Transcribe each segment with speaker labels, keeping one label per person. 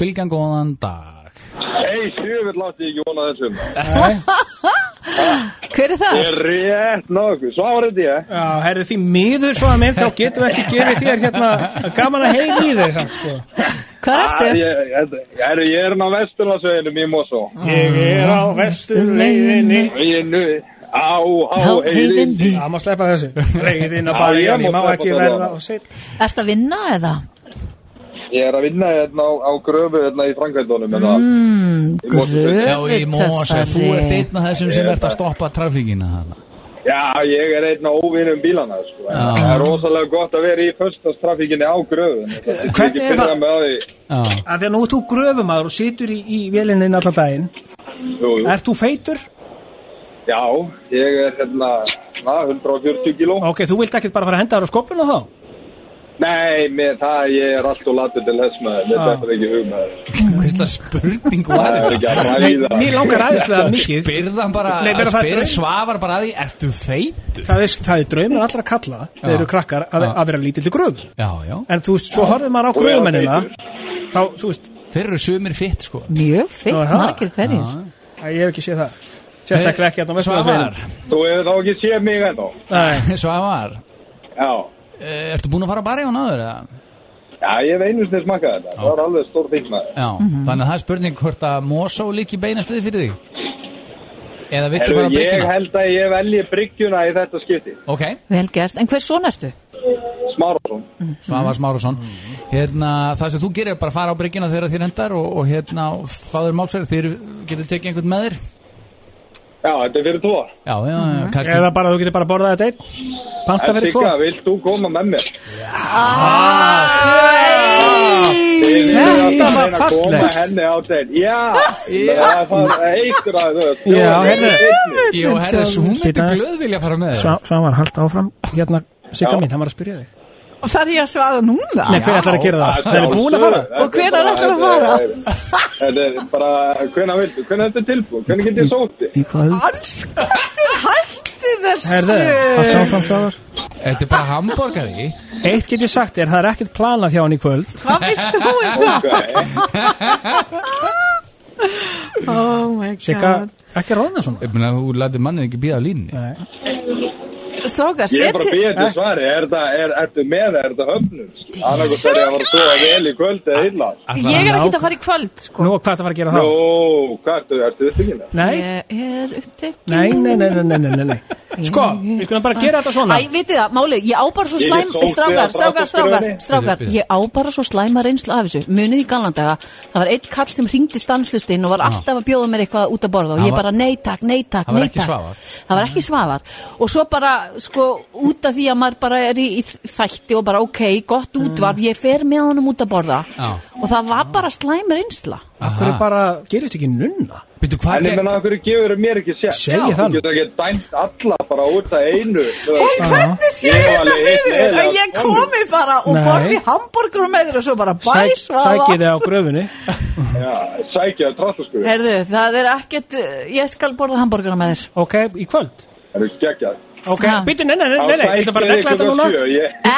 Speaker 1: Bilgan, góðan dag.
Speaker 2: Hei, sjöfur látti ég jóna þessum.
Speaker 3: Hver er það?
Speaker 2: Ég er rétt nokkuð, svarið ég.
Speaker 4: Já, herðu því miður svo að minn þá getum við ekki gefið þér hérna gaman að heyri í þér samt sko.
Speaker 3: Hvað
Speaker 2: Ah,
Speaker 3: ertu?
Speaker 2: Ég, ég, ég, ég er ná vesturlandsveginum í Mosó.
Speaker 4: Ég er á vesturleiðinni
Speaker 2: Ég er nú á, á,
Speaker 3: Á
Speaker 2: heiðinni.
Speaker 3: heiðinni.
Speaker 4: Já, má sleppa þessu Leiðin
Speaker 2: Já,
Speaker 4: að bara
Speaker 2: ég má
Speaker 4: ég, má
Speaker 2: sleppa
Speaker 4: ekki
Speaker 2: þessu.
Speaker 4: verða á sitt
Speaker 3: Ertu að vinna eða?
Speaker 2: Ég er að vinna hérna á, á gröfu hérna í Frankveldunum. Mm.
Speaker 3: Mm,
Speaker 2: Í Mosfell.
Speaker 1: Já, í Mósa, þú ert
Speaker 3: gröfutöffari.
Speaker 1: einn af þessum sem ert að stoppa trafíkina þarna.
Speaker 2: Já, ég er einn á óvinnum bílana, sko.
Speaker 1: Já.
Speaker 2: Það er rosalega gott að vera í föstastrafíkinni á sko. gröfun.
Speaker 4: Hvernig er það?
Speaker 2: Með, á því.
Speaker 1: Já,
Speaker 4: Af því að nú ert þú gröfumæður og situr í, í vélinni allan daginn
Speaker 2: jú, jú.
Speaker 4: Ert þú feitur?
Speaker 2: Já, ég er hérna, na, 140 kíló.
Speaker 4: Ok, þú vilt ekkert bara fara að henda þér á skopuna þá?
Speaker 2: Nei, með það ég er alltaf latur til þess maður,
Speaker 4: Já.
Speaker 2: þetta er þetta ekki hugmaður.
Speaker 1: hversla spurning var
Speaker 2: Það er
Speaker 1: þetta?
Speaker 2: ekki að
Speaker 4: Nei,
Speaker 2: ræða.
Speaker 4: mér langar aðeinslega mikið
Speaker 1: Spyrðan bara,
Speaker 4: Nei, bara það er
Speaker 1: spyrðan
Speaker 4: draum.
Speaker 1: svafar bara að því, ertu feitur?
Speaker 4: Það er, það er draumur allra kalla þegar
Speaker 1: Já.
Speaker 4: eru krakkar að,
Speaker 1: Já.
Speaker 4: að vera lítill í gröf
Speaker 1: Já, já,
Speaker 4: En þú veist, svo horfðum maður á gröfumennina Þá, þú veist,
Speaker 1: þeir eru sumir fitt sko.
Speaker 3: Mjög feitt,
Speaker 4: Já, það.
Speaker 3: margir hverjir.
Speaker 4: að ég hef ekki séð það Sérstaklega ekki hérna að það
Speaker 1: Svafar,
Speaker 2: Þú hefur þá ekki séð mig ennþá.
Speaker 4: Nei,
Speaker 1: Svafar,
Speaker 2: Já.
Speaker 1: eh, ertu búin að fara bara í hún aður eða?
Speaker 2: Já, ég hef einu sinni smakað þetta. Það var alveg stór þingmaður.
Speaker 1: Já, þannig að það er spurning hvort að Mosó líki beinast við fyrir þig Eða viltu fara að
Speaker 2: Ég
Speaker 1: byggja
Speaker 2: held að ég velji bryggjuna í þetta skipti.
Speaker 1: Ok,
Speaker 3: Vel gert. En hver svona ertu?
Speaker 2: Smárasson.
Speaker 1: Svavars Márusson hérna, Það sem þú gerir er bara að fara á bryggjuna þegar þér hendar og, og hérna, fáður málsverð þeir getur tekið einhvern með þér
Speaker 2: Já, þetta er fyrir tvo.
Speaker 1: Já, já, já, kannski
Speaker 4: eða bara þú getur bara borðað þetta einn Panta
Speaker 2: En
Speaker 4: fyrir tvo
Speaker 2: Sigga, vilt þú koma með mér?
Speaker 4: Ah. Þetta var
Speaker 2: Að koma
Speaker 4: fallegt
Speaker 2: henni á þeim. Já, það er eittur að þau.
Speaker 4: Já, hérna
Speaker 1: Jó, herri, svo hún myndi
Speaker 4: Bíddu.
Speaker 1: glöð vilja fara með þér
Speaker 4: Svavar, halda áfram Hérna, Sigga
Speaker 2: Já.
Speaker 4: mín, hann var að spyrja þig
Speaker 3: Þar ég að svara núna?
Speaker 4: Nei, hver ætlar að gera það? Það er búin að fara
Speaker 3: Og hvenær ætlarðu að fara?
Speaker 2: Þetta er bara, hvenær viltu? Hvenær er þetta tilbúið? Hvenær getur ég sóti?
Speaker 4: Í hvað
Speaker 3: Anskottir hætti þessu
Speaker 4: Herðu, halda áfram Svavar
Speaker 1: Þetta er bara hambúrgari
Speaker 4: Eitt get ég sagt þér, það er ekkert planað hjá hann í kvöld
Speaker 3: Hvað finnst þú um það? Oh my
Speaker 4: Sigga,
Speaker 3: god
Speaker 4: ekki ráðna svona
Speaker 1: Ég meina, þú lætir mannin ekki býða á línni
Speaker 4: Nei.
Speaker 3: Strákar,
Speaker 2: Ég er bara að
Speaker 3: seti
Speaker 2: býja til svari, er það, er, ertu með, er það höfnum? Annarkoð þarf ég að fara að sofa vel í kvöld eða illa.
Speaker 3: Ég er ekki að fara í kvöld sko.
Speaker 4: Nú, hvað það var að gera
Speaker 2: Nú,
Speaker 4: þá?
Speaker 2: hvað ertu, ertu upptökilega?
Speaker 4: Nei,
Speaker 3: Ég er upptekið
Speaker 4: nei, nei, nei, nei, nei, nei, nei Sko, við skulum bara gera þetta svona
Speaker 3: Æ, vitið það, málið, ég á bara svo
Speaker 2: Ég er
Speaker 3: slæm
Speaker 2: sól þegar
Speaker 3: Strákar,
Speaker 2: frá
Speaker 3: strákar, strákar,
Speaker 2: fólksbyrjunni.
Speaker 3: strákar
Speaker 1: Bíðu, bíðu.
Speaker 3: Ég á bara svo slæma reynslu af þessu Munið í galandaga, það var eitt kall sem hringdi stanslust inn og var alltaf að bjóða mér eitthvað út að borða
Speaker 1: Ah.
Speaker 3: og
Speaker 1: Það
Speaker 3: ég
Speaker 1: var-
Speaker 3: bara neytak, neytak,
Speaker 1: Það var ekki
Speaker 3: neytak
Speaker 1: Svavar.
Speaker 3: Það var ekki svavar Og svo bara, sko, út af því að maður bara er í, í þætti og bara, ok, gott útvarp Ég fer með honum út að borða
Speaker 1: Mm. Já.
Speaker 3: Og það var bara slæm reynsla
Speaker 4: Akkur er bara, gerist ekki nunna
Speaker 1: Býttu,
Speaker 2: En
Speaker 1: hvað
Speaker 2: ég
Speaker 1: gekk?
Speaker 2: menna, okkur gefur mér ekki sér.
Speaker 4: Segið
Speaker 2: Já.
Speaker 4: það nú.
Speaker 2: Þú getur ekki dæmt alla bara út að einu.
Speaker 3: Og hvernig sé
Speaker 2: Ég var
Speaker 3: þetta
Speaker 2: alveg
Speaker 3: fyrir
Speaker 2: einn
Speaker 3: þér að
Speaker 2: eða
Speaker 3: ég
Speaker 2: stór.
Speaker 3: komi bara og
Speaker 4: Nei.
Speaker 3: borði hambúrgur með þér og svo bara
Speaker 4: Sæk- Sækið
Speaker 3: bæsvaða
Speaker 4: þið á gröfunni
Speaker 2: Já, sækja að tráttaskuðu.
Speaker 3: Herðu, það er ekkert, uh, ég skal borða hambúrgur með þér
Speaker 4: Ok, í kvöld
Speaker 2: Það eru geggjað.
Speaker 4: Ok,
Speaker 3: Ha.
Speaker 4: býttu, nei, nei, nei, nei, nei, ég ætla bara að negla þetta núna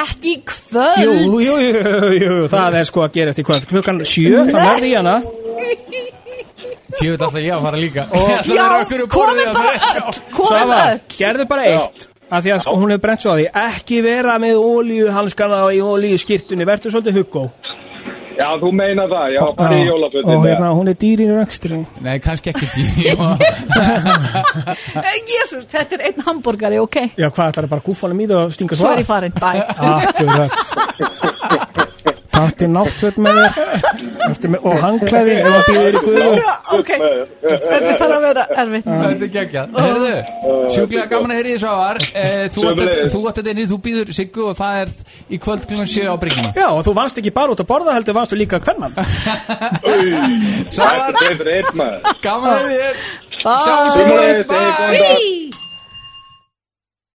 Speaker 3: Ekki í
Speaker 4: Jú,
Speaker 3: kvöld
Speaker 4: jú, jú, jú, jú, það er sko að gerast í kvöld Klukkan sjö, það verði í hana
Speaker 1: Tjöfut alltaf ég að fara líka
Speaker 3: Já, komið bara öll, komið
Speaker 4: Svafa,
Speaker 3: öll
Speaker 4: gerðu bara eitt Af því að sko, hún hefur brent svo að því Ekki vera með ólíuhanskana og í ólíuskirtunni Vertu svolítið huggó
Speaker 2: Já, þú meina það, já, bara í jólafötin.
Speaker 4: Og hérna, hún er dýrin röngstri
Speaker 1: Nei, kannski ekki tíu
Speaker 3: Jésús, Eh, þetta er einn hambúrgari, ok
Speaker 4: Já, hvað ætlar það bara að gúfa honum í það og stinga
Speaker 3: Svo
Speaker 4: svo
Speaker 3: er ég farin, bæ
Speaker 4: Akkurat Taktu náttföt með þér Ertu með- Og hangklæði Ef að býður í guðu
Speaker 3: Ok, þetta fara að vera erfitt
Speaker 4: Ah.
Speaker 1: Þetta er geggjað Herðu, sjúklega gaman að heyri því svar Eh, Þú átt þetta-
Speaker 2: Sömuleiðis.
Speaker 1: þú átt þetta inni, þú býður Siggu og það er í kvöld klunum 7 á bryggjuna
Speaker 4: Já, og þú vannst ekki bara út að borða heldur Vannstu líka hvernan
Speaker 2: Þetta er fyrir einn maður.
Speaker 1: Gaman að heyri þér
Speaker 3: Bye.
Speaker 1: Sjáumst í kvöld, bye
Speaker 2: Bye.
Speaker 3: Hí.